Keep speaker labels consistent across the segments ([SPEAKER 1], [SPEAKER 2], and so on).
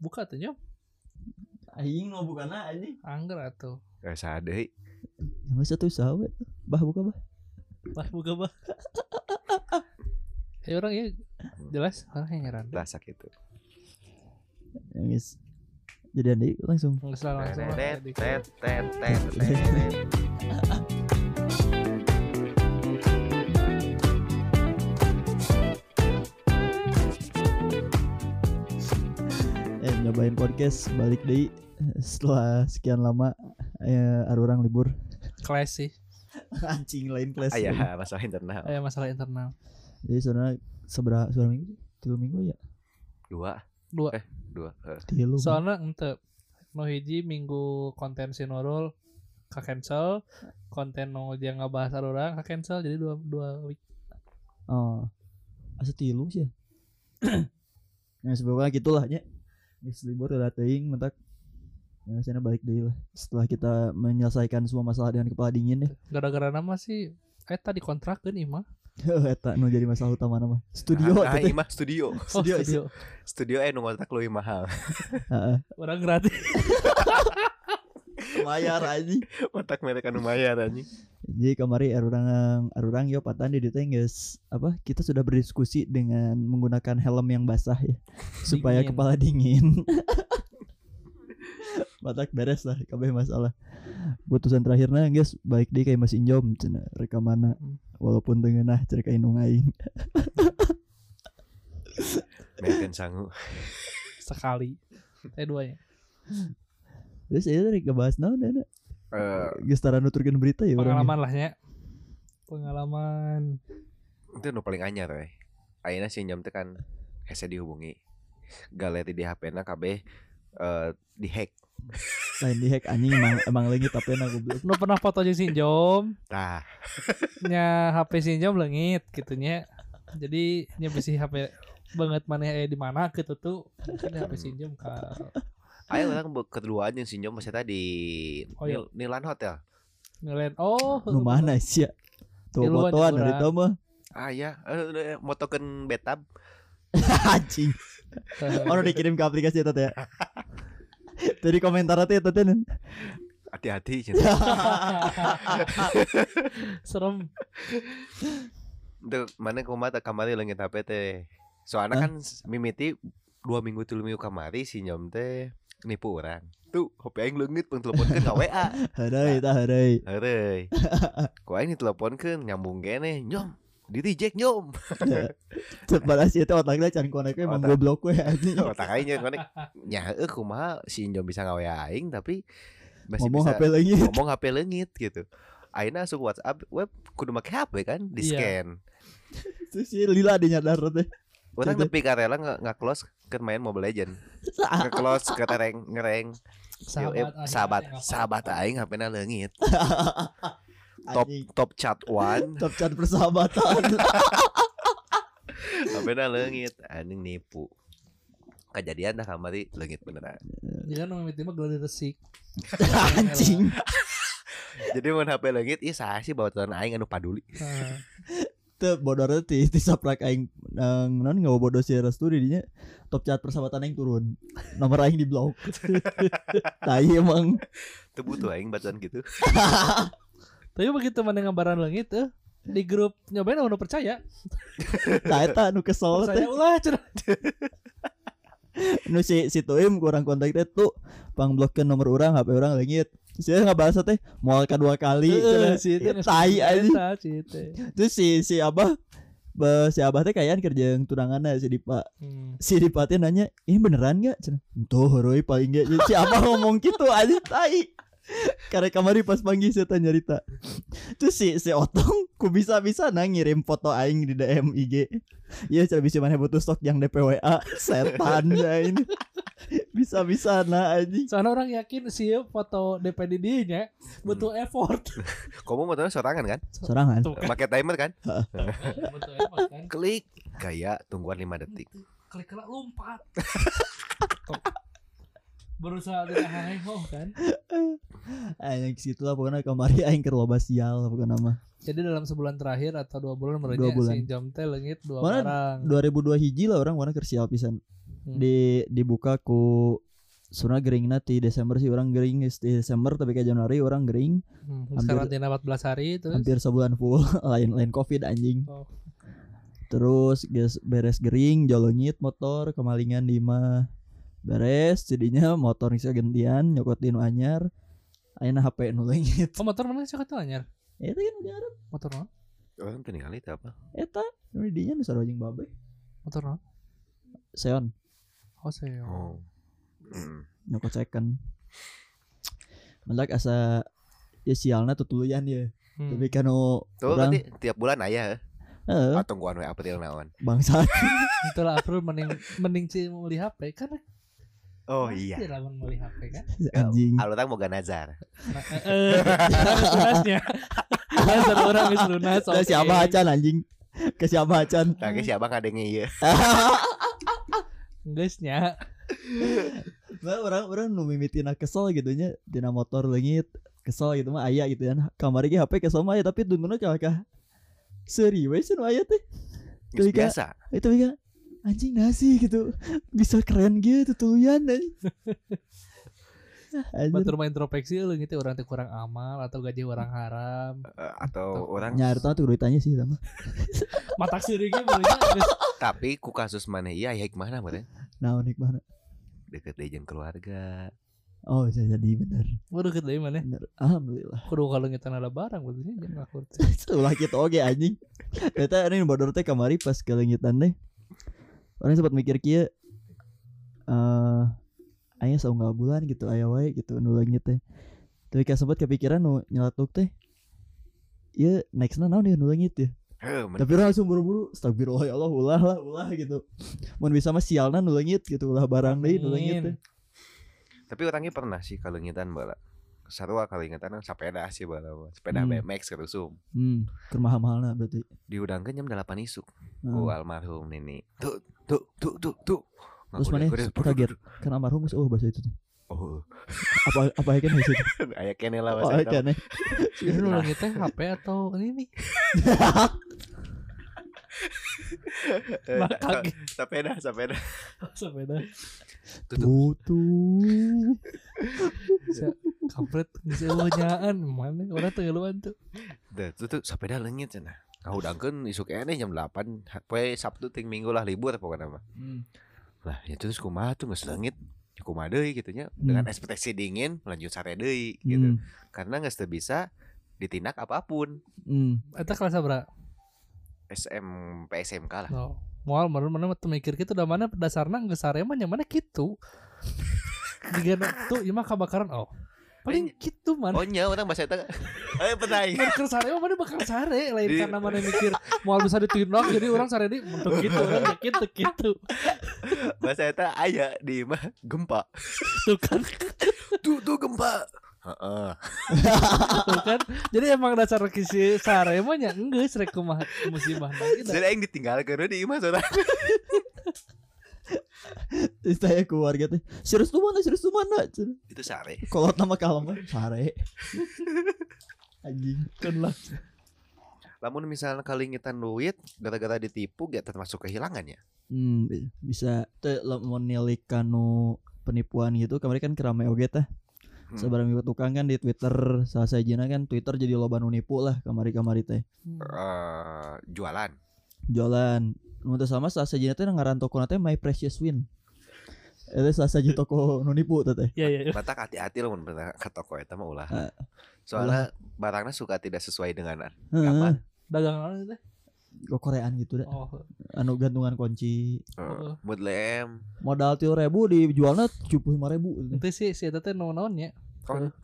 [SPEAKER 1] buka tuh nyom
[SPEAKER 2] Aing mau bukan aja.
[SPEAKER 1] angger atuh
[SPEAKER 3] Rasa deui.
[SPEAKER 2] Yang satu Ya, sahabat. Bah buka bah.
[SPEAKER 1] pas buka bah ya orang ya jelas orang yang heran
[SPEAKER 3] Lah sakit tuh.
[SPEAKER 2] Yang is. Ya, Jadi Andi langsung.
[SPEAKER 1] nggak salah langsung lah,
[SPEAKER 3] Tet,
[SPEAKER 1] di-
[SPEAKER 3] tet, tet, tet, tet.
[SPEAKER 2] Eh nyobain podcast balik deh Eh, setelah sekian lama eh, ada orang libur
[SPEAKER 1] kelas sih
[SPEAKER 2] anjing lain kelas
[SPEAKER 3] Ayah, Ah, ya, masalah internal.
[SPEAKER 1] eh, masalah internal
[SPEAKER 2] jadi sebenarnya seberapa seberapa minggu tiga minggu ya
[SPEAKER 3] Dua,
[SPEAKER 1] dua
[SPEAKER 3] Eh. dua. eh.
[SPEAKER 2] tiga
[SPEAKER 1] soalnya ente no hiji minggu konten si Nurul ka cancel konten no dia nggak bahas orang ka cancel jadi dua dua week
[SPEAKER 2] Oh. Asa tilu sih. ya. nah, sebabnya gitulah nya. Geus libur udah teuing mentak. Ya, sana balik deui lah. Setelah kita menyelesaikan semua masalah dengan kepala dingin ya.
[SPEAKER 1] gara-gara nama sih eh tadi kontrak kan imah
[SPEAKER 2] Eta nu jadi masalah utama nama. Studio
[SPEAKER 3] Ah, ah,
[SPEAKER 2] teh.
[SPEAKER 3] imah studio.
[SPEAKER 1] oh
[SPEAKER 2] Studio,
[SPEAKER 1] studio
[SPEAKER 3] Studio eh nu ngontrak leuwih mahal.
[SPEAKER 2] Heeh.
[SPEAKER 1] orang gratis
[SPEAKER 2] Mayar anjing.
[SPEAKER 3] Otak mereka nu mayar anjing.
[SPEAKER 2] Jadi kemarin arurang arurang yo patan di dieu teh geus ya, apa kita sudah berdiskusi dengan menggunakan helm yang basah ya supaya
[SPEAKER 1] Dingin.
[SPEAKER 2] kepala dingin. Matak beres lah kabeh masalah. Putusan terakhirnya guys baik deh kayak Mas Injom cenah rekamana walaupun teu ngeunah cenah ka indung aing.
[SPEAKER 3] Meten sangu.
[SPEAKER 1] sekali eh duanya
[SPEAKER 2] Terus ya, ieu teh ngebahas naon da
[SPEAKER 3] Eh,
[SPEAKER 2] geus tara nuturkeun berita ya urang.
[SPEAKER 1] pengalaman lah ya pengalaman
[SPEAKER 3] itu nu paling anyar we. Ayeuna si nyam teh kan hese dihubungi. Galeri di HP-na kabeh nah, eh dihack.
[SPEAKER 2] Lain dihack anjing emang emang lagi tapena goblok.
[SPEAKER 1] lu pernah foto jeung sinjom
[SPEAKER 3] Tah,
[SPEAKER 1] nya HP sinjom lengit gitunya gitu, jadi nya bisi HP banget mana eh di mana gitu tuh mungkin HP sinjom ka
[SPEAKER 3] ayo orang be- kedua aja si nyam masih tadi
[SPEAKER 1] Hmm. Oh, iya.
[SPEAKER 3] Nil- Nilan Hotel.
[SPEAKER 1] ngelen oh
[SPEAKER 2] Nu mana sih ya? Tuh
[SPEAKER 1] Tiluan
[SPEAKER 2] fotoan
[SPEAKER 1] urang.
[SPEAKER 2] dari teu mah
[SPEAKER 3] Ah ya, motokeun betab.
[SPEAKER 2] anjing. Oh, udah dikirim ke aplikasi itu ya. Jadi komentar itu ya tadi.
[SPEAKER 3] Hati-hati. Cen.
[SPEAKER 1] serem
[SPEAKER 3] Itu mana kumaha teh kamari leungit HP teh. Soalnya
[SPEAKER 2] Hah?
[SPEAKER 3] kan s- mimiti dua minggu tilu minggu kamari si nyam teh nipu orang. Tuh, HP aing leungit pang teleponkeun ka WA.
[SPEAKER 2] Hadai, tah hadai.
[SPEAKER 3] Heureui. Ku aing diteleponkeun nyambung kene, nyom. Di reject nyom.
[SPEAKER 2] Sebenarnya sih itu ya, otaknya can koneknya emang
[SPEAKER 3] Otak.
[SPEAKER 2] goblok we anjing.
[SPEAKER 3] Otak aing nya konek. Nya heuh kumaha si nyom bisa ngawe aing tapi masih
[SPEAKER 2] Ngomong
[SPEAKER 3] bisa
[SPEAKER 2] HP lagi.
[SPEAKER 3] ngomong HP leungit gitu. Aina asup WhatsApp web kudu make HP kan, di
[SPEAKER 1] Iya.
[SPEAKER 3] scan.
[SPEAKER 2] Terus si Lila ada nyadar ya? teh.
[SPEAKER 3] Orang
[SPEAKER 2] Jadi-
[SPEAKER 3] nepi karela nggak close ke main Mobile Legend. Nggak close ke tereng ngereng. Yo, eh,
[SPEAKER 1] akhirnya
[SPEAKER 3] sahabat
[SPEAKER 1] yang apa-apa.
[SPEAKER 3] sahabat aing HP-na leungit. Top
[SPEAKER 2] Anjing.
[SPEAKER 3] top chat one
[SPEAKER 2] Top chat persahabatan.
[SPEAKER 3] HP-na leungit. Anjing nipu. Kejadian dah kamari leungit beneran.
[SPEAKER 1] dia kan ngomong tiba gelar resik
[SPEAKER 2] anjing.
[SPEAKER 3] Jadi mun HP leungit ih saha sih bawa tuan aing anu paduli.
[SPEAKER 1] Nah,
[SPEAKER 2] Teu bodornya ti ti saprak aing nang non enggak bodoh si Restu didinya. Top chat persahabatan aing turun. Nomor aing diblok. Tai emang.
[SPEAKER 3] Teu butuh aing batuan gitu.
[SPEAKER 1] tapi begitu mana ngabaran lengit eh di grup nyobain orang percaya
[SPEAKER 2] Tah eta nu kesel Oh, ya? teh.
[SPEAKER 1] percaya ulah cenah.
[SPEAKER 2] nu si si Tuim kurang kontak teh tuh pang blokeun nomor orang HP orang leungit. Terus dia ngebahasa teh moal kedua kali.
[SPEAKER 1] Heeh,
[SPEAKER 2] cenah.
[SPEAKER 1] Eh, si itu nges-
[SPEAKER 2] Iya, Tai anjing.
[SPEAKER 1] Eta, si itu.
[SPEAKER 2] Terus si si Abah be- si Abah teh kayaan kerja yang tunangannya si Dipa.
[SPEAKER 1] Hmm.
[SPEAKER 2] Si Dipa teh nanya, "Ini beneran enggak?" Cenah. Tuh, roy paling enggak si Abah ngomong gitu aja tai. Karena kamari pas panggil saya tanya cerita. Terus si si Otong ku bisa-bisa nah ngirim foto aing di DM IG. Iya, cara bisa mana butuh stok yang DPWA setan ya ini. Bisa-bisa nah anjing.
[SPEAKER 1] Soalnya orang yakin si foto DPD dia nya butuh effort.
[SPEAKER 3] Kamu motornya sorangan kan?
[SPEAKER 2] Sorangan.
[SPEAKER 1] Tuh kan.
[SPEAKER 3] Pakai timer kan?
[SPEAKER 1] butuh effort kan.
[SPEAKER 3] Klik kayak tungguan 5 detik.
[SPEAKER 1] Klik kena lompat. Tuh. Berusaha tidak henghoh kan.
[SPEAKER 2] Aing situ lah pokoknya kamari aing keur loba sial pokoknya mah.
[SPEAKER 1] Jadi dalam sebulan terakhir atau dua bulan
[SPEAKER 2] Dua
[SPEAKER 1] merenya
[SPEAKER 2] bulan.
[SPEAKER 1] si jam teh lengit dua
[SPEAKER 2] Mana
[SPEAKER 1] barang.
[SPEAKER 2] 2002 hiji lah orang warna keur sial pisan.
[SPEAKER 1] Hmm.
[SPEAKER 2] di dibuka ku sebenarnya geringna di Desember sih orang gering geus di Desember tapi ke Januari orang gering
[SPEAKER 1] Hmm, terus
[SPEAKER 2] Hampir-
[SPEAKER 1] karantina 14 hari terus
[SPEAKER 2] hampir sebulan full lain lain covid anjing
[SPEAKER 1] Oh.
[SPEAKER 2] terus geus beres gering jolonyit motor kemalingan di mah beres jadinya motor bisa gantian nyokot di nu anyar ayeuna HP nu leungit
[SPEAKER 1] Oh motor mana sih kata anyar?
[SPEAKER 2] eta kan di Arab
[SPEAKER 1] Motor no?
[SPEAKER 3] Orang tuh ningali teu Oh, apa?
[SPEAKER 2] eta nu di dinya nu sarojing babe
[SPEAKER 1] Motor no?
[SPEAKER 2] seon
[SPEAKER 1] Oh saya.
[SPEAKER 3] Oh. Mm.
[SPEAKER 2] nyokot second Melak asa ya sialna tutuluyan ya
[SPEAKER 1] Hmm.
[SPEAKER 2] tapi kan nu
[SPEAKER 3] Tuh
[SPEAKER 2] Orang-
[SPEAKER 3] berarti tiap bulan aya
[SPEAKER 2] eh,
[SPEAKER 3] heuh. atau gua anu April naon.
[SPEAKER 2] bangsa
[SPEAKER 1] Itulah April mending mending sih beli HP karena
[SPEAKER 3] Oh iya.
[SPEAKER 1] Tidak lamun beli HP kan.
[SPEAKER 3] Ya,
[SPEAKER 2] anjing
[SPEAKER 3] Alur tang boga nazar.
[SPEAKER 1] Nah, eh, eh, lunasnya. Dasar orang geus lunas.
[SPEAKER 2] Dah si Abah Acan anjing ke si Abah Acan
[SPEAKER 3] Nah, ge si Abang ngadenge ieu.
[SPEAKER 1] Geusnya.
[SPEAKER 2] Nah, orang orang nu mimitina kesel gitu nya dina motor leungit kesel gitu mah aya gitu kan kamari ge HP kesel mah aya ya, tapi dunguna kah kah seri we sih nu aya teh Tuh,
[SPEAKER 3] Geus
[SPEAKER 2] Ika.
[SPEAKER 3] biasa.
[SPEAKER 2] itu ya anjing nasi gitu bisa keren gitu tuluyan anjing Anjir,
[SPEAKER 1] Batur mah introspeksi euleung teh orang teh kurang amal atau gaji orang haram.
[SPEAKER 3] Eh, atau orang
[SPEAKER 2] nyarita tuh duitannya sih sama
[SPEAKER 1] Mata seureung ge barunya geus
[SPEAKER 3] tapi ku kasus maneh ieu aya hikmahna meureun.
[SPEAKER 2] nah unik banget
[SPEAKER 3] Deket deui jeung keluarga.
[SPEAKER 2] oh bisa jadi bener
[SPEAKER 1] baru ket deui maneh.
[SPEAKER 2] bener alhamdulillah
[SPEAKER 1] Kudu kalungitan ada barang barunya jeung ngakur.
[SPEAKER 2] ulah kita oge anjing ternyata ini bodor teh kamari pas kelengitan teh orang sempat mikir kia eh aya saunggal bulan gitu aya wae gitu nu leungit teh tapi ka sempat kepikiran nu nyeletuk teh Iya, nextnya naon ya nu leungit ya.
[SPEAKER 3] Heuh, men-
[SPEAKER 2] Tapi orang langsung buru-buru, astagfirullah ya Allah, ulah lah, ulah gitu. Mun bisa mah sialna nu leungit gitu, ulah barang deui nu leungit teh.
[SPEAKER 3] tapi orangnya pernah sih kalungitan bala. Sarua kalungitan sepeda sih bala. Sepeda
[SPEAKER 2] Hmm.
[SPEAKER 3] BMX gitu, ketusum.
[SPEAKER 2] Hmm, keur mahal-mahalna berarti.
[SPEAKER 3] Diudangkeun jam 8 isuk.
[SPEAKER 2] Nah,
[SPEAKER 3] ku almarhum Nini. Tuh, tuh, tuh, tuh, tuh.
[SPEAKER 2] Terus
[SPEAKER 3] Ngaku
[SPEAKER 2] maneh
[SPEAKER 3] deh, aku deh.
[SPEAKER 2] kaget. kan almarhum geus oh bahasa itu teh.
[SPEAKER 3] Oh,
[SPEAKER 2] Apa apa ya kan bahasa itu?
[SPEAKER 3] aya kene lah
[SPEAKER 2] Oh,
[SPEAKER 3] bahasa Arab.
[SPEAKER 2] kan.
[SPEAKER 1] Jadi ulangnya teh HP atau ini nih.
[SPEAKER 3] iya.
[SPEAKER 1] Mah kaget
[SPEAKER 3] Eh, Sepeda, sepeda.
[SPEAKER 1] sepeda.
[SPEAKER 2] Tuh tuh.
[SPEAKER 1] Kampret geus eueunyaan mana orang teh ngeluan tuh.
[SPEAKER 3] Tuh, tuh, tuh, sepeda leungit cenah. Aku dangkeun isuk ene jam 8 poe Sabtu ting Minggu lah libur pokoknya mah. Lah, ya terus kumaha tuh geus leungit. Ya Kumaha deui kitu nya. Dengan
[SPEAKER 2] Hmm.
[SPEAKER 3] ekspektasi dingin lanjut sare deui gitu.
[SPEAKER 2] Gitu.
[SPEAKER 3] Karena geus teu bisa ditindak apapun.
[SPEAKER 2] Hmm.
[SPEAKER 1] Eta kerasa berat.
[SPEAKER 3] SMP SMK lah.
[SPEAKER 1] No. Moal menurut mana tuh mikir gitu udah mana dasarna geus sarema nya mana kitu. Jika tuh ieu mah kabakaran oh. Paling kitu man.
[SPEAKER 3] Oh nya orang bahasa eta. Eh pernah.
[SPEAKER 1] Mun keur sare mah mana bakal sare lain
[SPEAKER 3] Di-
[SPEAKER 1] karena mana mikir moal bisa ditindak jadi orang sare di mentok gitu orang teu kitu kitu.
[SPEAKER 3] Bahasa eta aya di mah gempa.
[SPEAKER 1] Tuh kan
[SPEAKER 3] tuh tuh gempa Heeh.
[SPEAKER 1] tuh kan. Jadi emang dasar kisi sare mah nya enggeus rek kumaha musibah nah, gitu.
[SPEAKER 3] jadi aing ditinggal ke di imah saudara
[SPEAKER 2] Terus saya gitu. ke warga teh. Serius tuh mana? Serius tuh mana? Cenah.
[SPEAKER 3] itu sare
[SPEAKER 2] Kolot nama kalem sare. Anjing.
[SPEAKER 1] Kan lah.
[SPEAKER 3] lamun misalnya kalingitan duit gara-gara ditipu ya gak termasuk kehilangannya
[SPEAKER 2] Hmm, bi- bisa teh lamun nilik kanu penipuan gitu kemarin kan kerame oge teh
[SPEAKER 3] Hmm.
[SPEAKER 2] sebarang ikut tukang kan di twitter salah saya kan twitter jadi loba nu nipu lah kamari kamari teh
[SPEAKER 1] Hmm.
[SPEAKER 3] Eh, jualan
[SPEAKER 2] jualan nu teu sama salah saya teh ngaran toko teh my precious win itu salah saja toko nu nipu teh teh
[SPEAKER 1] Ya ya. ya.
[SPEAKER 3] batak hati-hati lamun pernah ke toko eta mah ulah
[SPEAKER 2] Eh,
[SPEAKER 3] soalnya barangnya suka tidak sesuai dengan
[SPEAKER 2] Heeh,
[SPEAKER 3] kapan
[SPEAKER 1] Dagang naon teh?
[SPEAKER 2] kok koreaan gitu dah
[SPEAKER 1] Oh.
[SPEAKER 2] anu gantungan kunci
[SPEAKER 3] Eh, Mudlem
[SPEAKER 2] modal tiga ribu dijualnya tujuh puluh lima ribu gitu.
[SPEAKER 1] Itu sih si eta teh naon-naon ya. nya.
[SPEAKER 3] Kon-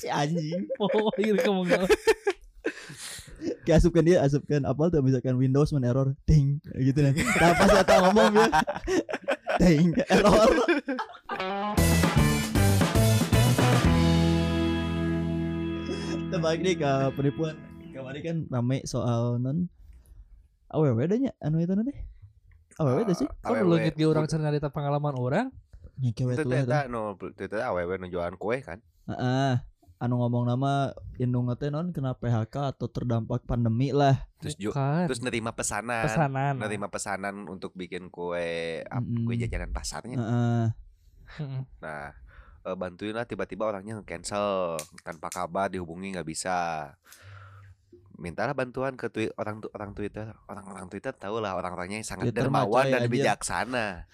[SPEAKER 2] si anjing
[SPEAKER 1] Oh, ieu kamu enggak.
[SPEAKER 2] asupkan dia asupkan apa tuh misalkan Windows men error ting gitu nih nah pas saya tahu ngomong ya ting error Nah, balik nih ke penipuan kemarin kan rame soal non aww adanya anu itu nanti aww itu Oh, iya sih
[SPEAKER 1] Kan lu ngit ge urang cenah nyarita pengalaman orang.
[SPEAKER 2] nyekewe
[SPEAKER 3] itu
[SPEAKER 2] tuh
[SPEAKER 3] eta no itu eta awewe nu jualan kue kan
[SPEAKER 2] ah anu ngomong nama indung teh non kena PHK atau terdampak pandemi lah
[SPEAKER 3] terus ju-
[SPEAKER 1] Bukan. nah.
[SPEAKER 3] terus kan, nerima pesanan,
[SPEAKER 1] pesanan.
[SPEAKER 3] nerima pesanan untuk bikin kue ap-
[SPEAKER 2] Mm-mm.
[SPEAKER 3] kue jajanan pasarnya
[SPEAKER 2] Hmm. Heeh.
[SPEAKER 1] Heeh.
[SPEAKER 3] nah eh, bantuin lah tiba-tiba orangnya cancel tanpa kabar dihubungi nggak bisa mintalah bantuan ke twi- orang tu- orang Twitter orang-orang Twitter tahu lah orang-orangnya yang sangat
[SPEAKER 2] Twitter mah
[SPEAKER 3] dermawan
[SPEAKER 2] coy,
[SPEAKER 3] dan
[SPEAKER 2] anjir.
[SPEAKER 3] bijaksana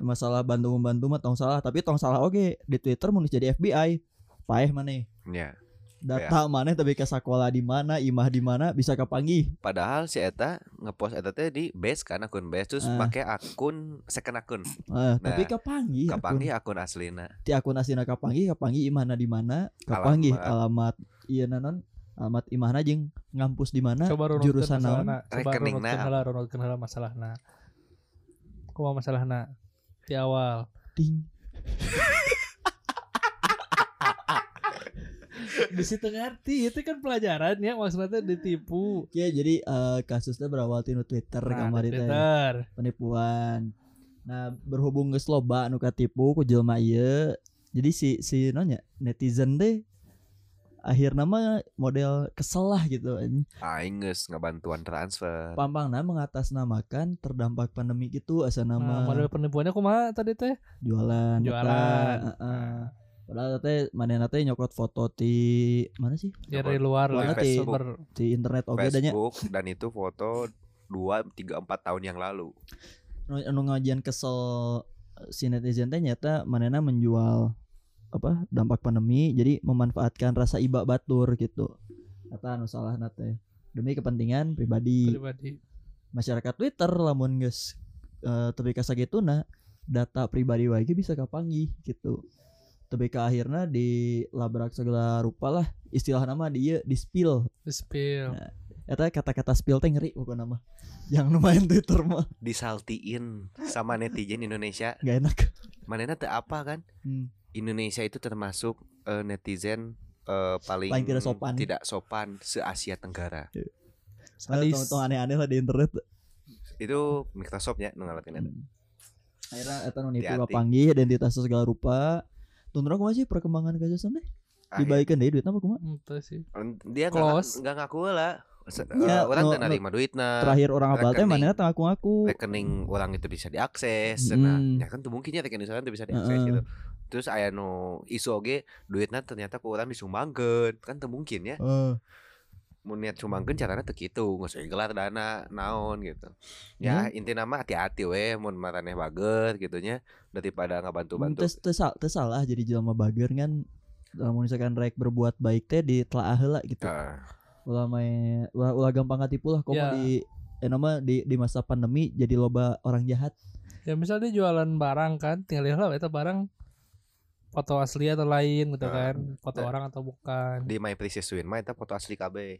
[SPEAKER 2] masalah bantu membantu mah tong salah tapi tong salah oke di Twitter mau jadi FBI paeh mana
[SPEAKER 3] ya
[SPEAKER 2] data mana tapi ke sekolah di mana imah di mana bisa kapanggih
[SPEAKER 3] padahal si Eta ngepost Eta teh di base kan akun base terus
[SPEAKER 2] Ah.
[SPEAKER 3] pakai akun second akun
[SPEAKER 2] Eh, tapi kapanggih
[SPEAKER 3] kapangi akun aslina
[SPEAKER 2] akun, ti akun asina kapanggih kapanggih imahna di mana kapanggih alamat, iya nanon alamat imahna jeung ngampus di mana
[SPEAKER 1] Coba runutkeun
[SPEAKER 2] jurusan naon
[SPEAKER 1] masalahna. Coba
[SPEAKER 3] Rekeningna.
[SPEAKER 1] runutkeun heula, runutkeun heula masalahna. Kumaha masalahna? nah? Di awal.
[SPEAKER 2] ting
[SPEAKER 1] Di situ ngerti, itu kan pelajaran ya maksudnya teh ditipu.
[SPEAKER 2] ya jadi eh, kasusnya berawal tinu Twitter
[SPEAKER 1] Nah,
[SPEAKER 2] kamari
[SPEAKER 1] di
[SPEAKER 2] teh.
[SPEAKER 1] Twitter.
[SPEAKER 2] penipuan. Nah, berhubung geus loba anu katipu ku jelema ieu, jadi si si nonya netizen teh akhirna mah model kesel lah gitu
[SPEAKER 3] aing geus ngabantuan transfer
[SPEAKER 2] Pampangna mengatasnamakan terdampak pandemi gitu asa
[SPEAKER 1] Nah,
[SPEAKER 2] nama
[SPEAKER 1] model penipuannya kumaha tadi teh?
[SPEAKER 2] jualan eta,
[SPEAKER 1] Jualan. Nah.
[SPEAKER 2] heeh. Padahal teh manehna teh nyokot foto ti mana sih?
[SPEAKER 1] Ya dari luar lah,
[SPEAKER 2] Berarti-
[SPEAKER 1] sumber
[SPEAKER 2] Ti internet oge da nya.
[SPEAKER 3] Facebook dan itu foto dua tiga empat tahun yang lalu
[SPEAKER 2] Nu- anu ngajian kesel eh, si netizen teh nyata manena menjual apa dampak pandemi jadi memanfaatkan rasa iba batur gitu kata anu salah nate demi kepentingan pribadi
[SPEAKER 1] pribadi.
[SPEAKER 2] masyarakat Twitter lamun geus eh tapi kasagituna data pribadi wae ge bisa kapanggih gitu tapi ke akhirnya di labrak segala rupa lah istilah nama dia di spill
[SPEAKER 1] Di spill.
[SPEAKER 2] eta kata-kata spill teh ngeri pokoknya nama yang lumayan Twitter mah
[SPEAKER 3] disaltiin sama netizen Indonesia
[SPEAKER 2] gak enak
[SPEAKER 3] manena teu apa kan
[SPEAKER 2] Hmm.
[SPEAKER 3] Indonesia itu termasuk eh, netizen eh, paling,
[SPEAKER 2] Paling tidak sopan.
[SPEAKER 3] tidak sopan se Asia Tenggara
[SPEAKER 1] Sadis.
[SPEAKER 2] Padahal tong-tong aneh-aneh lah di internet
[SPEAKER 3] itu Microsoft ya nu ngalatin eta.
[SPEAKER 2] Hmm. akhirnya eta nu nipu
[SPEAKER 3] Hati-hati.
[SPEAKER 2] kapanggih identitas segala rupa tundra kumaha sih perkembangan kajasan teh
[SPEAKER 3] Akhir-
[SPEAKER 2] dibaikkan deh duitna apa kumaha
[SPEAKER 1] Itu sih.
[SPEAKER 3] dia
[SPEAKER 1] Close.
[SPEAKER 3] nggak nggak ngaku lah Se-
[SPEAKER 2] Ya,
[SPEAKER 3] eh, orang
[SPEAKER 2] nu-
[SPEAKER 3] teu nerima duitna
[SPEAKER 2] terakhir orang abal teh
[SPEAKER 3] rekening.
[SPEAKER 2] mana tengah aku ngaku
[SPEAKER 3] rekening orang itu bisa diakses
[SPEAKER 2] Mm.
[SPEAKER 3] nah ya kan tuh mungkinnya rekening orang itu bisa diakses
[SPEAKER 2] Heeh.
[SPEAKER 3] gitu terus aya nu isu oge duitnya ternyata ke orang disumbangkeun kan tuh mungkin ya
[SPEAKER 2] Eh,
[SPEAKER 3] mau niat sumbangkeun caranya tuh gitu nggak usah gelar dana naon gitu ya inti nama hati-hati weh mau maraneh bager gitunya daripada nggak bantu-bantu
[SPEAKER 2] tes tes sal- tes salah jadi jelema bager kan kalau misalkan rek berbuat baik teh ditelaah heula gitu
[SPEAKER 3] Nah,
[SPEAKER 2] ulah main ulah, ulah gampang katipu lah
[SPEAKER 1] Ya.
[SPEAKER 2] koma di eh nama di di masa pandemi jadi loba orang jahat
[SPEAKER 1] Ya misalnya dia jualan barang kan, tinggal lihat lah itu barang foto asli atau lain gitu kan,
[SPEAKER 3] Nah,
[SPEAKER 1] foto
[SPEAKER 3] nah.
[SPEAKER 1] orang atau bukan.
[SPEAKER 3] di My Precious Win mah itu foto asli KB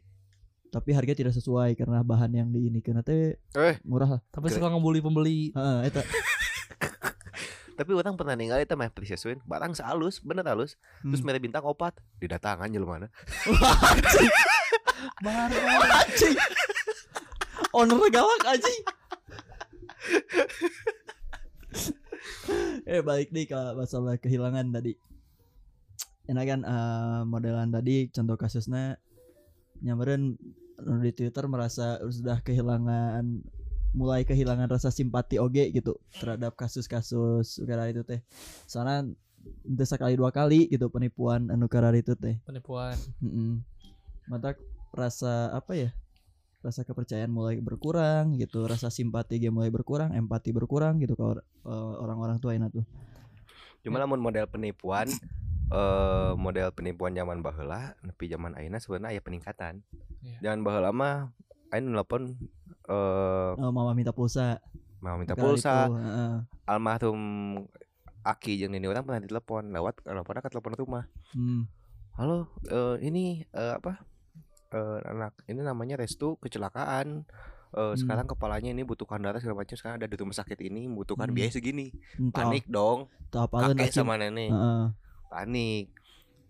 [SPEAKER 2] tapi harga tidak sesuai karena bahan yang di ini karena teh
[SPEAKER 3] Eh.
[SPEAKER 2] murah lah
[SPEAKER 1] Tapi suka ngebully pembeli.
[SPEAKER 2] Heeh, eta
[SPEAKER 3] tapi orang pernah ninggal itu My Precious Win barang sehalus bener halus terus
[SPEAKER 2] Hmm.
[SPEAKER 3] mere bintang opat didatangan jelema
[SPEAKER 1] Barang.
[SPEAKER 2] anjing owner galak anjing eh balik nih ke masalah kehilangan tadi enak kan eh, modelan tadi contoh kasusnya nyamperin nu di twitter merasa sudah kehilangan mulai kehilangan rasa simpati oge gitu terhadap kasus-kasus karena itu teh soalnya itu sekali dua kali gitu penipuan anu karar itu teh
[SPEAKER 1] Penipuan.
[SPEAKER 2] Mm-mm. Mata rasa apa ya? Rasa kepercayaan mulai berkurang gitu, rasa simpati dia mulai berkurang, empati berkurang gitu kalau orang-orang tua enak tuh.
[SPEAKER 3] Cuma lamun model penipuan eh model penipuan zaman baheula tapi zaman ayeuna sebenarnya aya peningkatan.
[SPEAKER 1] Iya.
[SPEAKER 3] Zaman baheula mah ayeuna nelpon eh
[SPEAKER 2] Oh, mama minta pulsa.
[SPEAKER 3] mau minta
[SPEAKER 2] Karena
[SPEAKER 3] pulsa,
[SPEAKER 2] itu, heeh.
[SPEAKER 3] almarhum Aki jeung Nini orang pernah ditelepon lewat eh, teleponnya ke telepon rumah.
[SPEAKER 2] Hmm.
[SPEAKER 3] Halo, eh ini eh, apa? Eh anak, ini namanya Restu kecelakaan. Eh
[SPEAKER 2] Hmm.
[SPEAKER 3] sekarang kepalanya ini butuhkan darah segala macam sekarang ada di rumah sakit ini membutuhkan
[SPEAKER 2] Hmm.
[SPEAKER 3] biaya segini.
[SPEAKER 2] Entah-
[SPEAKER 3] Panik dong,
[SPEAKER 2] entah apaan,
[SPEAKER 3] kakek
[SPEAKER 2] anjing.
[SPEAKER 3] sama nenek.
[SPEAKER 2] Heeh.
[SPEAKER 3] panik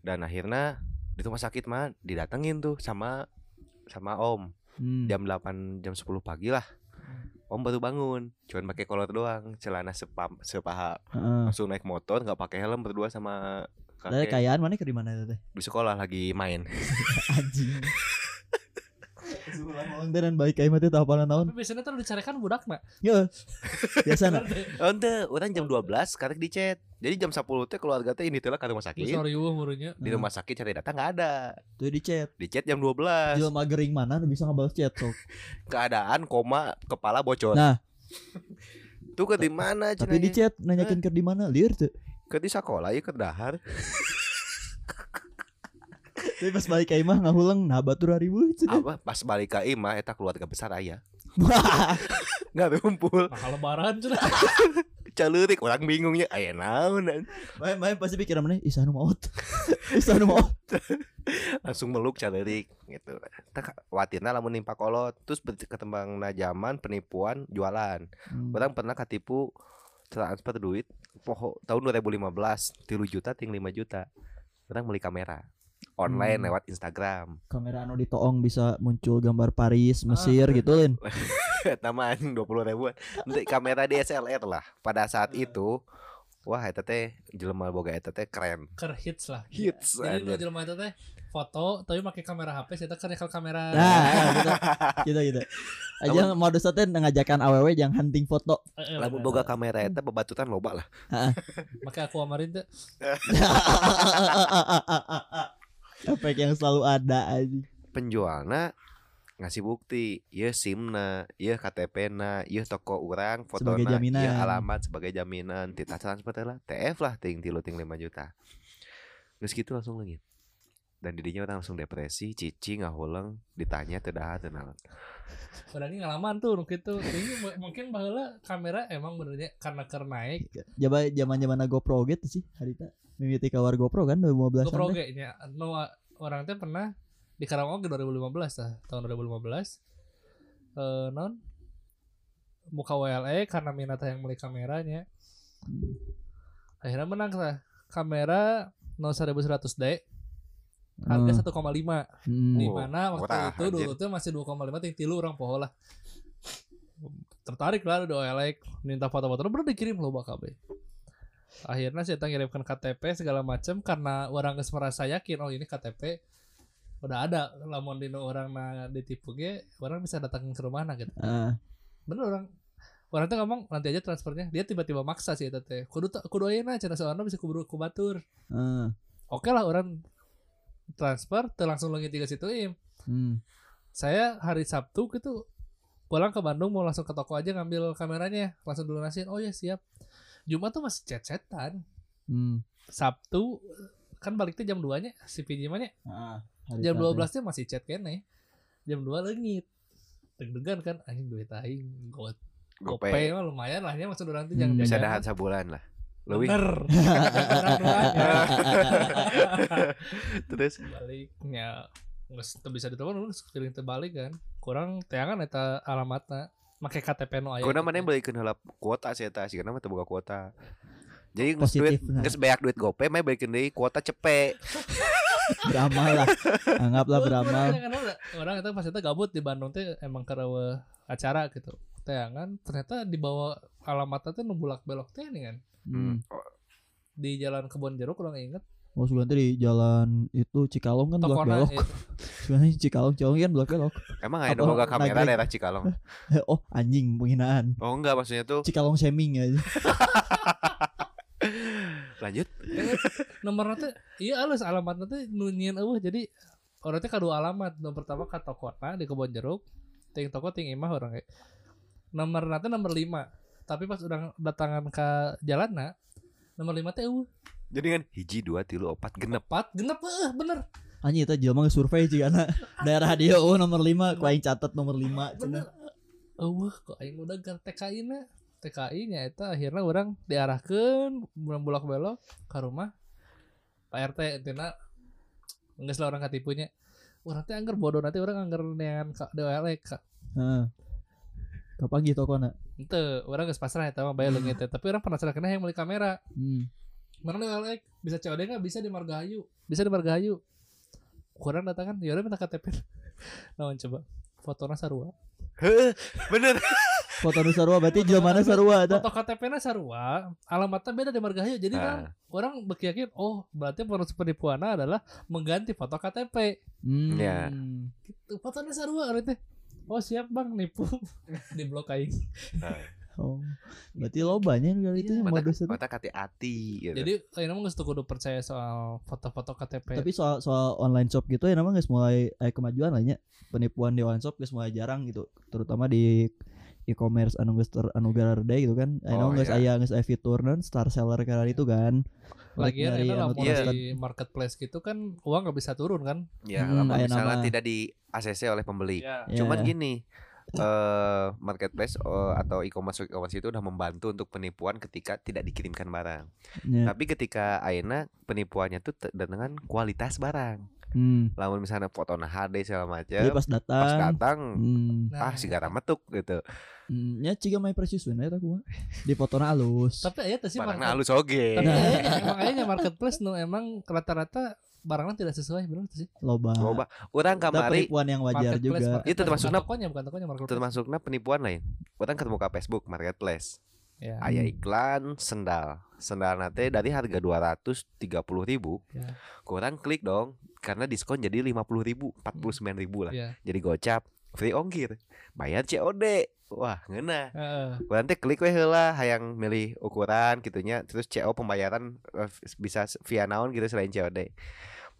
[SPEAKER 3] dan akhirnya di rumah sakit mah didatengin tuh sama sama om
[SPEAKER 2] Hmm.
[SPEAKER 3] jam 8 jam 10 pagi lah om baru bangun cuman pakai kolor doang celana sepam sepaha
[SPEAKER 2] Heeh.
[SPEAKER 3] langsung naik motor nggak pakai helm berdua sama
[SPEAKER 2] Dari
[SPEAKER 3] kakek
[SPEAKER 2] kayaan mana ke di mana teh?
[SPEAKER 3] di sekolah lagi main.
[SPEAKER 2] Anjing. Dan baik kayak mati tahap tahun.
[SPEAKER 1] Tapi biasanya tuh dicarikan budak nak.
[SPEAKER 2] Ya. Biasa nah.
[SPEAKER 3] Ente, Oh, orang jam 12 karek di chat. Jadi jam 10 teh keluarga teh ini telah ke rumah
[SPEAKER 2] Iya,
[SPEAKER 3] sakit.
[SPEAKER 1] Sorry wah murunya.
[SPEAKER 3] Di rumah sakit cari datang nggak ada.
[SPEAKER 2] Tuh di chat.
[SPEAKER 3] Di chat jam 12.
[SPEAKER 2] Jelma gering mana nu bisa ngebales chat sok.
[SPEAKER 3] Keadaan koma kepala bocor.
[SPEAKER 2] Nah.
[SPEAKER 3] Tuh ke di mana
[SPEAKER 2] Tapi di chat nanyakin ke di mana liar tuh.
[SPEAKER 3] Ke di sekolah ya ke dahar.
[SPEAKER 2] Tapi pas balik kayak mah ngahulang nah batur haribu cenah.
[SPEAKER 3] Apa pas balik ke imah eta keluarga besar aya. Nggak kumpul.
[SPEAKER 1] Nah, lebaran cina.
[SPEAKER 3] Calurik orang bingungnya aya naon.
[SPEAKER 2] Main main pasti pikiran mana ih sanu maot. Ih sanu maot.
[SPEAKER 3] Langsung meluk calurik gitu. Tak watina lamun nimpa kolot terus ketembang zaman penipuan jualan.
[SPEAKER 2] Hmm.
[SPEAKER 3] Orang pernah katipu transfer duit poho tahun 2015 tilu juta ting 5 juta. Orang beli kamera online
[SPEAKER 2] Hmm.
[SPEAKER 3] lewat Instagram.
[SPEAKER 2] Kamera anu ditoong bisa muncul gambar Paris, Mesir
[SPEAKER 1] Ah.
[SPEAKER 2] gitu lin.
[SPEAKER 3] Nama anjing 20 ribuan. Nanti kamera DSLR lah. Pada saat itu wah eta teh jelema boga eta teh keren.
[SPEAKER 1] Ker hits lah.
[SPEAKER 3] Hits.
[SPEAKER 1] Jadi dua
[SPEAKER 3] anjir.
[SPEAKER 1] jelema itu teh foto tapi pakai kamera HP, saya kan kalau kamera
[SPEAKER 2] Nah, gitu gitu. Aja mau dosa teh ngajakan aww yang hunting foto.
[SPEAKER 1] Eh, eh,
[SPEAKER 3] Lamun
[SPEAKER 1] bener.
[SPEAKER 3] boga kamera eta bebatutan loba lah.
[SPEAKER 1] pakai aku amarin tuh.
[SPEAKER 2] Efek yang selalu ada aja.
[SPEAKER 3] Penjualna ngasih bukti, ya SIM-na, ya KTP-na, ya toko urang, fotona,
[SPEAKER 2] Sebagai jaminan.
[SPEAKER 3] ya alamat sebagai jaminan, tita transfer teh lah, TF lah ting tilu ting 5 juta. Terus gitu langsung lagi. Dan didinya orang langsung depresi, cici ngahuleng, ditanya tedah tenang.
[SPEAKER 1] Berani ngalaman tuh nu kitu. Ini mu- mungkin baheula kamera emang benernya karena ker naik.
[SPEAKER 2] Jaman zaman zaman GoPro gitu sih harita. Mimiti kawar GoPro kan 2015
[SPEAKER 1] GoPro ge nya anu wa- orang teh pernah di Karawang ge 2015 lah, tahun 2015. Eh non muka WLE E karena minat yang beli kameranya. Akhirnya menang lah. Kamera 0100D harga
[SPEAKER 2] Ah, Hmm.
[SPEAKER 1] 1,5 di
[SPEAKER 3] Oh,
[SPEAKER 1] mana waktu
[SPEAKER 3] murah,
[SPEAKER 1] itu dulu tuh masih 2,5 ting tilu orang poho lah tertarik lah doa like minta foto-foto baru dikirim loba KB akhirnya saya ngirimkan KTP segala macam karena orang geus merasa yakin oh ini KTP udah ada lamun dino orang na ditipu ge orang bisa datang ke rumah gitu
[SPEAKER 2] ah,
[SPEAKER 1] bener orang orang tuh ngomong nanti aja transfernya dia tiba-tiba maksa sih eta teh kudu kudu ayeuna cenah soalnya bisa kuburu kubatur
[SPEAKER 2] ah,
[SPEAKER 1] oke lah orang transfer teu langsung leungit tiga situ im
[SPEAKER 2] hmm,
[SPEAKER 1] saya hari Sabtu gitu pulang ke Bandung mau langsung ke toko aja ngambil kameranya langsung dilunasin oh ya siap Jumat tuh masih cecetan
[SPEAKER 2] hmm.
[SPEAKER 1] Sabtu kan baliknya jam 2 nya si pinjamannya
[SPEAKER 2] Ah,
[SPEAKER 1] jam 12 nya masih chat kene jam 2 lengit deg-degan kan anjing duit aing got
[SPEAKER 3] Gope.
[SPEAKER 1] gopay mah lumayan lah ya maksud orang tuh jangan
[SPEAKER 2] Hmm,
[SPEAKER 3] Bisa
[SPEAKER 1] jajan.
[SPEAKER 3] dahan sabulan lah. Leuwih.
[SPEAKER 1] bener Bener doang
[SPEAKER 2] Ah,
[SPEAKER 1] ya.
[SPEAKER 3] Terus
[SPEAKER 1] baliknya nggak teu bisa ditelepon terus kirim terbalik kan kurang teangan eta alamatnya make KTP nu aya gitu.
[SPEAKER 3] Kuna mana yang balikin heula kuota sih eta sih karena mah teu boga kuota. Jadi nges duit
[SPEAKER 2] Positif nah,
[SPEAKER 3] nges banyak duit gope mah balikin deui kuota cepe.
[SPEAKER 2] beramal lah. Anggaplah
[SPEAKER 1] Terus
[SPEAKER 2] beramal.
[SPEAKER 1] orang- orang- orang itu pas itu gabut di Bandung teh emang karawa acara gitu teangan ternyata dibawa alamatnya tuh nu bulak belok teh nih kan
[SPEAKER 2] Hmm.
[SPEAKER 1] di jalan kebon jeruk kurang inget
[SPEAKER 2] Oh, Suganti di jalan itu Cikalong kan belak
[SPEAKER 1] tokona
[SPEAKER 2] belok.
[SPEAKER 1] eh,
[SPEAKER 2] Suganti Cikalong, Cikalong kan belak belok.
[SPEAKER 3] Emang ada
[SPEAKER 2] Apa?
[SPEAKER 3] boga kamera
[SPEAKER 2] Nagreg.
[SPEAKER 3] daerah Cikalong.
[SPEAKER 2] oh, anjing penghinaan.
[SPEAKER 3] Oh enggak maksudnya tuh
[SPEAKER 2] Cikalong shaming ya. aja.
[SPEAKER 3] lanjut.
[SPEAKER 1] nomornya tuh iya alus alamatnya tuh nunyian eueuh jadi orang teh kedua alamat nomor pertama ka tokona di kebon jeruk ting toko ting imah orang kayak nomor nanti nomor lima tapi pas udah datangan ke jalan nah nomor lima teh eueuh
[SPEAKER 3] Jadi kan hiji dua tilu opat genep.
[SPEAKER 1] empat genep eh bener
[SPEAKER 2] Anjing itu jelma survei sih karena daerah dia oh nomor 5, ku aing catat nomor nah. 5
[SPEAKER 1] bener eueuh kok aing udah gan TKI na TKI nya eta akhirnya orang diarahkan bulan bulak belok ke rumah Pak RT entina nggak lah orang katipunya orang teh anggar bodoh nanti orang anggar neangan ka DWL E ka
[SPEAKER 2] Heeh. Kapan gitu kona?
[SPEAKER 1] Ente, orang e, geus pasrah eta mah bae leungit teh. Tapi orang penasaran kena yang beli kamera.
[SPEAKER 2] Hmm.
[SPEAKER 1] Mana lu elek? E Bisa COD enggak? Bisa di Margahayu. Bisa di Margahayu. Kurang datang kan? Ya udah minta KTP. Lawan coba. Fotona sarua.
[SPEAKER 3] Heh, Bener.
[SPEAKER 2] foto nu sarua berarti jelmana sarua eta
[SPEAKER 1] Foto KTP na sarua, alamatnya beda di Margahayu.
[SPEAKER 2] Iya
[SPEAKER 1] Jadi kan
[SPEAKER 3] Nah,
[SPEAKER 1] orang berkeyakin, oh berarti proses penipuannya adalah mengganti foto KTP.
[SPEAKER 2] hmm.
[SPEAKER 3] Ya.
[SPEAKER 1] Gitu, fotonya sarua orang teh. Oh siap bang, nipu. di blok aing.
[SPEAKER 2] oh berarti lobanya kali itu yang
[SPEAKER 3] nah. mata,
[SPEAKER 2] modus itu
[SPEAKER 3] mata kati hati gitu.
[SPEAKER 1] Jadi ayeuna mah geus teu kudu percaya soal foto-foto KTP.
[SPEAKER 2] tapi soal soal online shop gitu ya namanya mulai eh, kemajuan lah nya penipuan di online shop guys mulai jarang gitu terutama di e-commerce anu geus ter anu garade gitu kan I know
[SPEAKER 3] Oh,
[SPEAKER 2] geus aya
[SPEAKER 3] iya.
[SPEAKER 2] geus aya fitur non star seller karena itu kan
[SPEAKER 1] Lagian
[SPEAKER 2] Dari
[SPEAKER 1] ayeuna
[SPEAKER 2] anu
[SPEAKER 1] lamun
[SPEAKER 3] Iya.
[SPEAKER 1] di marketplace gitu kan uang nggak bisa turun kan?
[SPEAKER 3] ya
[SPEAKER 2] Hmm,
[SPEAKER 3] lama
[SPEAKER 2] aya
[SPEAKER 3] misalnya
[SPEAKER 2] nama.
[SPEAKER 3] tidak di ACC oleh pembeli.
[SPEAKER 1] Iya.
[SPEAKER 2] Ya.
[SPEAKER 3] Cuman gini, eh marketplace eh, atau e-commerce e-commerce itu udah membantu untuk penipuan ketika tidak dikirimkan barang.
[SPEAKER 2] Ya.
[SPEAKER 3] Tapi ketika Aina penipuannya tuh te- dengan kualitas barang.
[SPEAKER 2] Hmm.
[SPEAKER 3] Lamun misalnya foto na HD segala
[SPEAKER 2] Jadi
[SPEAKER 3] macam,
[SPEAKER 2] pas datang,
[SPEAKER 3] Ya, pas datang
[SPEAKER 2] Hmm.
[SPEAKER 1] Nah,
[SPEAKER 3] ah sigara metuk gitu.
[SPEAKER 2] Hmm, ya ciga my precious one eta kumaha. Di fotona alus.
[SPEAKER 1] Tapi aya teh sih
[SPEAKER 3] Barangnya
[SPEAKER 1] market-
[SPEAKER 3] halus oge.
[SPEAKER 1] Tapi
[SPEAKER 2] Nah.
[SPEAKER 1] ayahnya, emang ayahnya marketplace nu emang rata-rata barangnya tidak sesuai benar tuh sih.
[SPEAKER 2] Loba.
[SPEAKER 3] Loba orang
[SPEAKER 2] Tapi
[SPEAKER 3] kamari
[SPEAKER 2] penipuan yang wajar
[SPEAKER 1] Marketplace,
[SPEAKER 2] juga.
[SPEAKER 1] marketplace.
[SPEAKER 3] Itu termasuknya-
[SPEAKER 1] Bukan tokonya, bukan tokonya marketplace.
[SPEAKER 3] termasuknya penipuan lain. Orang ketemu ke Facebook marketplace.
[SPEAKER 1] Ya.
[SPEAKER 3] Aya iklan sendal. Sendal nate dari harga 230.000 ribu
[SPEAKER 1] Ya.
[SPEAKER 3] Kurang klik dong Karena diskon jadi 50.000 ribu 49 ribu lah
[SPEAKER 1] Iya.
[SPEAKER 3] Jadi gocap Free ongkir Bayar COD Wah ngena
[SPEAKER 1] Heeh.
[SPEAKER 3] Kurang teh klik weh lah Hayang milih ukuran gitunya Terus CO pembayaran eh, Bisa via naon gitu selain COD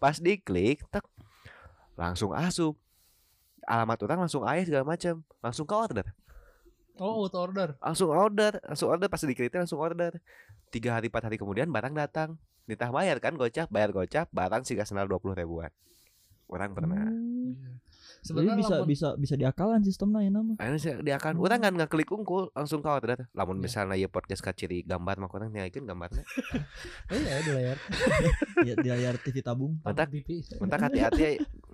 [SPEAKER 3] Pas diklik tek, Langsung asup Alamat orang langsung ayah segala macam Langsung ke order
[SPEAKER 1] Oh, auto order.
[SPEAKER 3] langsung order langsung order pas dikritik langsung order tiga hari empat hari kemudian barang datang ditah bayar kan gocap bayar gocap barang sih senal dua puluh ribuan orang pernah
[SPEAKER 2] Hmm. Jadi
[SPEAKER 1] Sebenarnya
[SPEAKER 2] bisa
[SPEAKER 1] lamun-
[SPEAKER 2] bisa bisa diakalan sistemnya ya nama.
[SPEAKER 3] akhirnya saya dia akan
[SPEAKER 2] Hmm.
[SPEAKER 3] orang kan nggak klik unggul langsung ke order lamun
[SPEAKER 1] Ya.
[SPEAKER 3] misalnya ya podcast kaciri gambar mah orang nyakin gambarnya
[SPEAKER 1] Oh, iya di layar.
[SPEAKER 2] Ya, di layar TV tabung.
[SPEAKER 3] Mentak.
[SPEAKER 1] Bibi.
[SPEAKER 3] mentak
[SPEAKER 2] Iya.
[SPEAKER 3] hati-hati ya.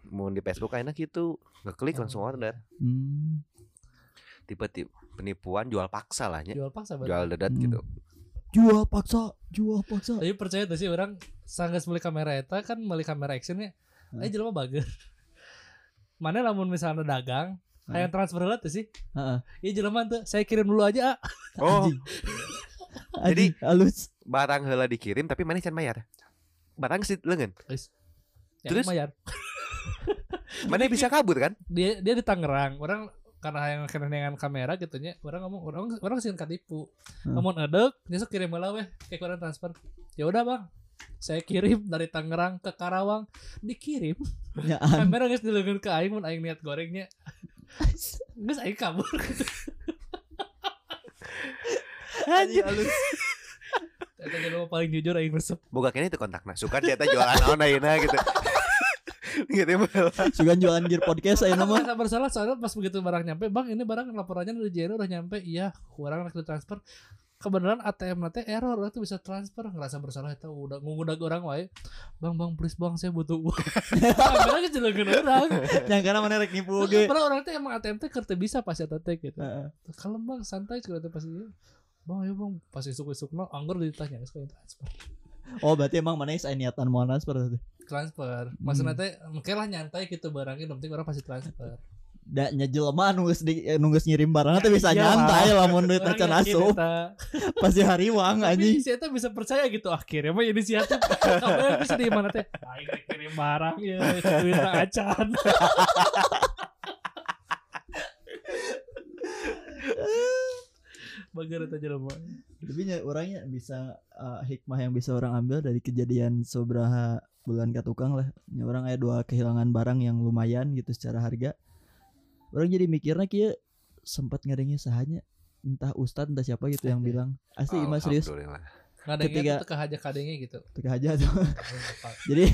[SPEAKER 3] mau di Facebook enak gitu ngeklik
[SPEAKER 1] Oh.
[SPEAKER 3] langsung order
[SPEAKER 2] Hmm.
[SPEAKER 3] tipe-tipe penipuan jual paksa lah
[SPEAKER 2] Ya.
[SPEAKER 3] nya
[SPEAKER 1] Jual paksa bener.
[SPEAKER 3] jual
[SPEAKER 2] Iya,
[SPEAKER 3] dedet
[SPEAKER 2] Hmm.
[SPEAKER 3] gitu
[SPEAKER 2] Jual paksa, jual paksa.
[SPEAKER 1] Tapi percaya tuh sih orang sanggeus beli kamera eta kan beli kamera actionnya.
[SPEAKER 2] Hah?
[SPEAKER 1] Eh jelema bager. Mana lamun misalnya dagang,
[SPEAKER 2] Hah?
[SPEAKER 1] hayang transfer heula tuh sih.
[SPEAKER 2] Heeh.
[SPEAKER 1] Iya jelema tuh, saya kirim dulu aja. ah.
[SPEAKER 3] oh
[SPEAKER 2] Anjing.
[SPEAKER 3] Jadi-
[SPEAKER 2] Anjing, alus.
[SPEAKER 3] barang heula dikirim tapi mana can bayar barang sih lengan
[SPEAKER 1] Guys.
[SPEAKER 3] Terus?
[SPEAKER 1] Terus Ya, bayar.
[SPEAKER 3] mana bisa kabur kan
[SPEAKER 1] Dia dia di Tangerang. Orang karena yang kena dengan kamera gitu nya, orang ngomong orang orang sih katipu.
[SPEAKER 2] Hah.
[SPEAKER 1] Namun edek, nyesek kirim heula weh, kayak kurang transfer. Ya udah, Bang. Saya kirim dari Tangerang ke Karawang dikirim
[SPEAKER 2] Nyaan.
[SPEAKER 1] kamera Kan guys dilengkeun ke aing mun aing niat gorengnya geus aing kabur
[SPEAKER 2] Anjing alus.
[SPEAKER 1] Eta jelema paling jujur aing resep.
[SPEAKER 3] boga kene itu kontakna suka dia teh jualan naon ayeuna gitu gitu baheula.
[SPEAKER 2] Sugan jualan gear podcast ayeuna mah.
[SPEAKER 1] Merasa bersalah soalnya pas begitu barang nyampe, "Bang, ini barang laporannya dari JNU udah nyampe." Iya, kurang rek transfer. Kebenaran ATM nanti error, orang tuh bisa transfer ngerasa bersalah itu udah ngudag orang wae. Bang, bang, please bang, saya butuh uang. Kamera geus dilengkeun orang.
[SPEAKER 2] Yang karena mana rek nipu
[SPEAKER 1] Terus
[SPEAKER 2] oge.
[SPEAKER 1] pernah orang teh emang ATM teh kerteu bisa pas eta teh gitu.
[SPEAKER 2] Heeh.
[SPEAKER 1] Kalem bang, santai juga teh pas ieu. Bang, ayo bang, pas isuk-isuk no, anggur ditanya, "Geus ka transfer."
[SPEAKER 2] Oh, berarti emang mana saya niatan mau transfer teh.
[SPEAKER 1] transfer
[SPEAKER 2] Hmm.
[SPEAKER 1] maksudnya teh mungkin lah nyantai gitu barangnya yang penting orang pasti transfer
[SPEAKER 2] Da nya jelema nu geus di- nu geus eh, ngirim barang teh bisa
[SPEAKER 1] Iya lah.
[SPEAKER 2] nyantai lamun duit
[SPEAKER 1] Orang
[SPEAKER 2] can
[SPEAKER 1] yakin
[SPEAKER 2] asup
[SPEAKER 1] eta.
[SPEAKER 2] pasti hari uang anjing.
[SPEAKER 1] tapi si Eta bisa percaya gitu akhirnya mah inisiatif kabarnya bisa di mana teh aing rek kirim barang ya duit tak acan Bager eta jelema.
[SPEAKER 2] Tapi nya orangnya bisa uh, hikmah yang bisa orang ambil dari kejadian seberapa bulan ke tukang lah. Nya orang ada dua kehilangan barang yang lumayan gitu secara harga. Orang jadi mikirnya kia sempat ngadengin sahanya entah ustad entah siapa gitu yang bilang asli imah serius
[SPEAKER 3] Alhamdulillah.
[SPEAKER 1] Kadangnya
[SPEAKER 2] Ketika-
[SPEAKER 1] tuh kehaja kadengnya gitu.
[SPEAKER 2] teka aja tuh. jadi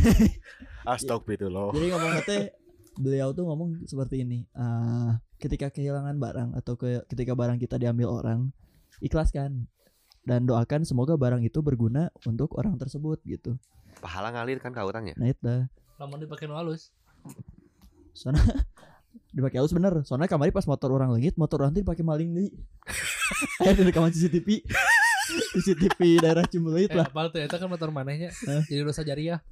[SPEAKER 3] Astagfirullah.
[SPEAKER 2] jadi ngomong teh beliau tuh ngomong seperti ini Ah, ketika kehilangan barang atau ke, ketika barang kita diambil orang ikhlaskan dan doakan semoga barang itu berguna untuk orang tersebut gitu
[SPEAKER 3] Pahala ngalir kan ke orang ya?
[SPEAKER 2] nah itu
[SPEAKER 1] Lamun dipake nu halus.
[SPEAKER 2] soalnya dipakai halus bener soalnya kemarin pas motor orang lengit motor orang tuh dipakai maling nih eh di rekaman CCTV CCTV daerah Cimuleuit
[SPEAKER 1] Eh
[SPEAKER 2] lah
[SPEAKER 1] apal tuh eta kan motor manehnya.
[SPEAKER 2] Hah?
[SPEAKER 1] Jadi dosa jariah.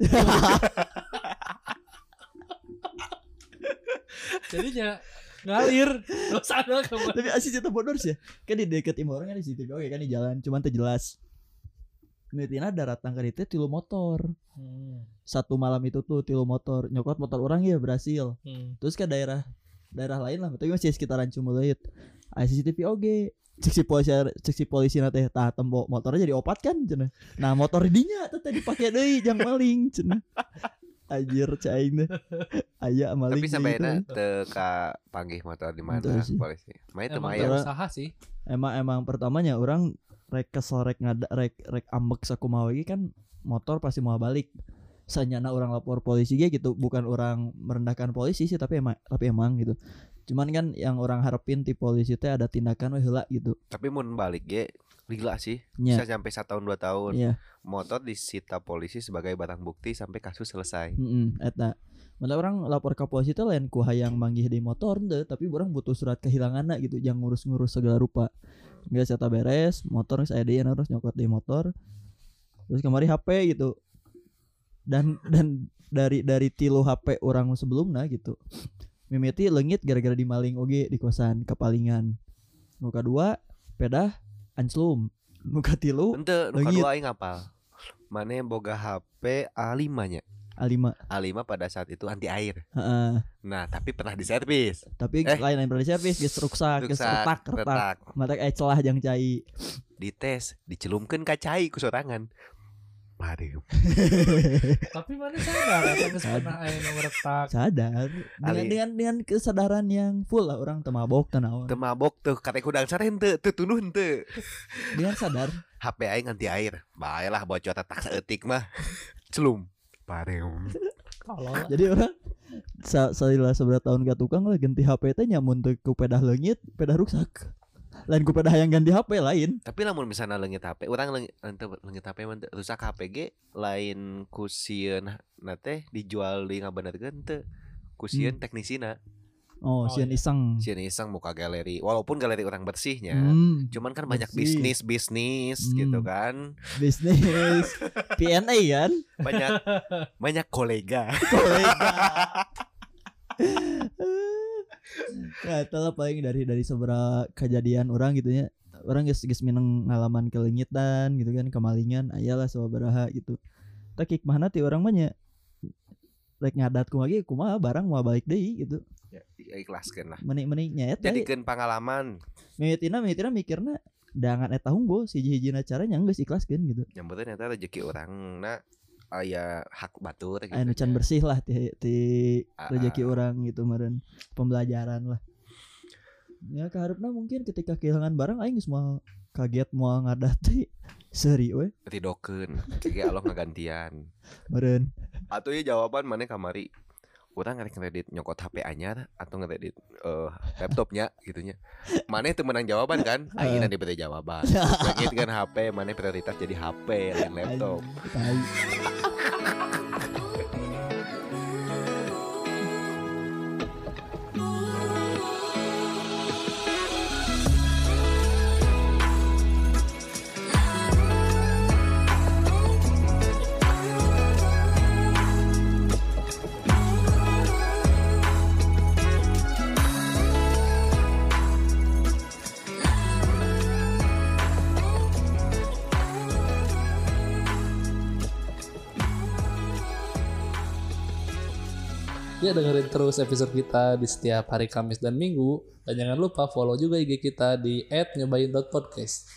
[SPEAKER 1] Jadinya ngalir terus ada kamu
[SPEAKER 2] tapi asli cerita bodor sih ya kan di deket imah orang kan di situ oke kan di jalan cuman teu jelas Nutina daratang ka dieu tilu motor
[SPEAKER 1] hmm.
[SPEAKER 2] satu malam itu tuh tilu motor nyokot motor orang ya berhasil
[SPEAKER 1] Hmm.
[SPEAKER 2] terus ke daerah daerah lain lah tapi masih sekitaran Cumuleuit aya CCTV oge cek si polisi cek si polisi na teh tah tembo motornya jadi opat kan cenah nah motor dinya teh tadi pakai deui jang maling cenah anjir caing teh aya maling
[SPEAKER 3] Tapi sampai
[SPEAKER 2] gitu.
[SPEAKER 3] enak teka panggil motor di mana
[SPEAKER 2] Betul sih.
[SPEAKER 3] polisi. Main itu
[SPEAKER 1] Emang
[SPEAKER 3] main.
[SPEAKER 1] gak usaha sih
[SPEAKER 2] emang emang pertamanya orang rek kesel rek ngada rek rek ambek sakumaha lagi kan motor pasti mau balik sanyana orang lapor polisi ge gitu bukan orang merendahkan polisi sih tapi emang tapi emang gitu cuman kan yang orang harapin ti polisi teh ada tindakan weh heula gitu
[SPEAKER 3] Tapi mau balik ge gila sih.
[SPEAKER 2] Nya.
[SPEAKER 3] Bisa sampai satu tahun dua tahun.
[SPEAKER 2] Iya.
[SPEAKER 3] Motor disita polisi sebagai barang bukti sampai kasus selesai.
[SPEAKER 2] heeh eta Malah orang lapor ke polisi teh lain ku hayang manggih di motor teu, tapi orang butuh surat kehilangan gitu yang ngurus-ngurus segala rupa Geus eta beres motor geus aya deui terus nyokot di motor terus kemari HP gitu dan dan dari dari tilu HP orang sebelumnya gitu mimiti lengit gara-gara dimaling oge di kosan kepalingan muka dua pedah anclum muka tilu
[SPEAKER 3] Ente nu
[SPEAKER 2] Leungit.
[SPEAKER 3] kedua aing ngapal. Mana yang boga HP A5 nya.
[SPEAKER 2] A5
[SPEAKER 3] A5 pada saat itu anti air.
[SPEAKER 2] Heeh.
[SPEAKER 3] Nah, tapi pernah diservis.
[SPEAKER 2] tapi
[SPEAKER 3] Eh.
[SPEAKER 2] lain lain berarti servis geus ruksak geus
[SPEAKER 3] Ruksak,
[SPEAKER 2] Ah, retak retak
[SPEAKER 3] Retak,
[SPEAKER 2] mata kayak celah jang cai
[SPEAKER 3] dites, dicelumkeun ka cai ku sorangan. Mari.
[SPEAKER 1] tapi mana ya, sadar atau geus pernah aya nu retak
[SPEAKER 2] sadar dengan
[SPEAKER 3] Ali.
[SPEAKER 2] dengan dengan kesadaran yang full lah orang temabok tenawan
[SPEAKER 3] Teu mabok teu kate kudang sare henteu, teu tunuh henteu.
[SPEAKER 2] dengan sadar
[SPEAKER 3] HP aing anti air. Baiklah bocor tetak saeutik mah. Celum. Pareum.
[SPEAKER 1] tolol
[SPEAKER 2] jadi orang sa salila seberat tahun gak tukang lah ganti HP teh nyamun teu ku pedah leungit pedah rusak lain ku pedah yang ganti HP lain
[SPEAKER 3] Tapi lamun misalnya leungit HP, urang leungit henteu leungit HP mah henteu. rusak HP ge lain ku sieun na teh dijual di ngabenerkeun teu. Ku
[SPEAKER 2] Hmm.
[SPEAKER 3] sieun teknisina,
[SPEAKER 1] Oh,
[SPEAKER 2] oh, sian
[SPEAKER 1] iya.
[SPEAKER 2] iseng
[SPEAKER 3] sieun iseng muka galeri. Walaupun galeri orang bersihnya.
[SPEAKER 2] hmm,
[SPEAKER 3] Cuman kan banyak
[SPEAKER 2] Bersih.
[SPEAKER 3] bisnis-bisnis
[SPEAKER 2] Hmm.
[SPEAKER 3] gitu kan.
[SPEAKER 2] bisnis PNA kan
[SPEAKER 3] Banyak banyak kolega.
[SPEAKER 2] kolega ya itulah paling dari dari seberapa kejadian orang gitu ya orang guys guys mineng ngalaman kelengitan gitu kan kemalingan ayalah sabaraha gitu tapi mana ti orang banyak rek ngadat kumaha ge kumaha barang mau balik deui gitu
[SPEAKER 3] Ya, ikhlaskeun lah.
[SPEAKER 2] menik menik nyaet jadi
[SPEAKER 3] Jadikan pengalaman
[SPEAKER 2] mitina mitina mikirna dangan eta unggul siji-hijina cara nya geus ikhlaskeun gitu
[SPEAKER 3] yang penting eta rezeki orang na aya hak batur
[SPEAKER 2] aya nu can
[SPEAKER 3] nya.
[SPEAKER 2] bersih lah ti, ti
[SPEAKER 3] Ah,
[SPEAKER 2] rezeki
[SPEAKER 3] ah.
[SPEAKER 2] orang gitu meren pembelajaran lah ya keharapna mungkin ketika kehilangan barang aing geus moal kaget moal ngadati seri we
[SPEAKER 3] Ridokeun. Jadi Allah ngagantian.
[SPEAKER 2] meren
[SPEAKER 3] Atau ya jawaban mana kamari? Orang ngerek kredit nyokot HP anyar atau ngeredit eh, laptopnya gitunya. Mana itu menang jawaban kan? Akhirnya diberi jawaban. Langit kan HP, mana prioritas jadi HP lain laptop.
[SPEAKER 2] Anjing, tai.
[SPEAKER 1] Ya dengerin terus episode kita di setiap hari Kamis dan Minggu dan jangan lupa follow juga IG kita di @nyobain.podcast.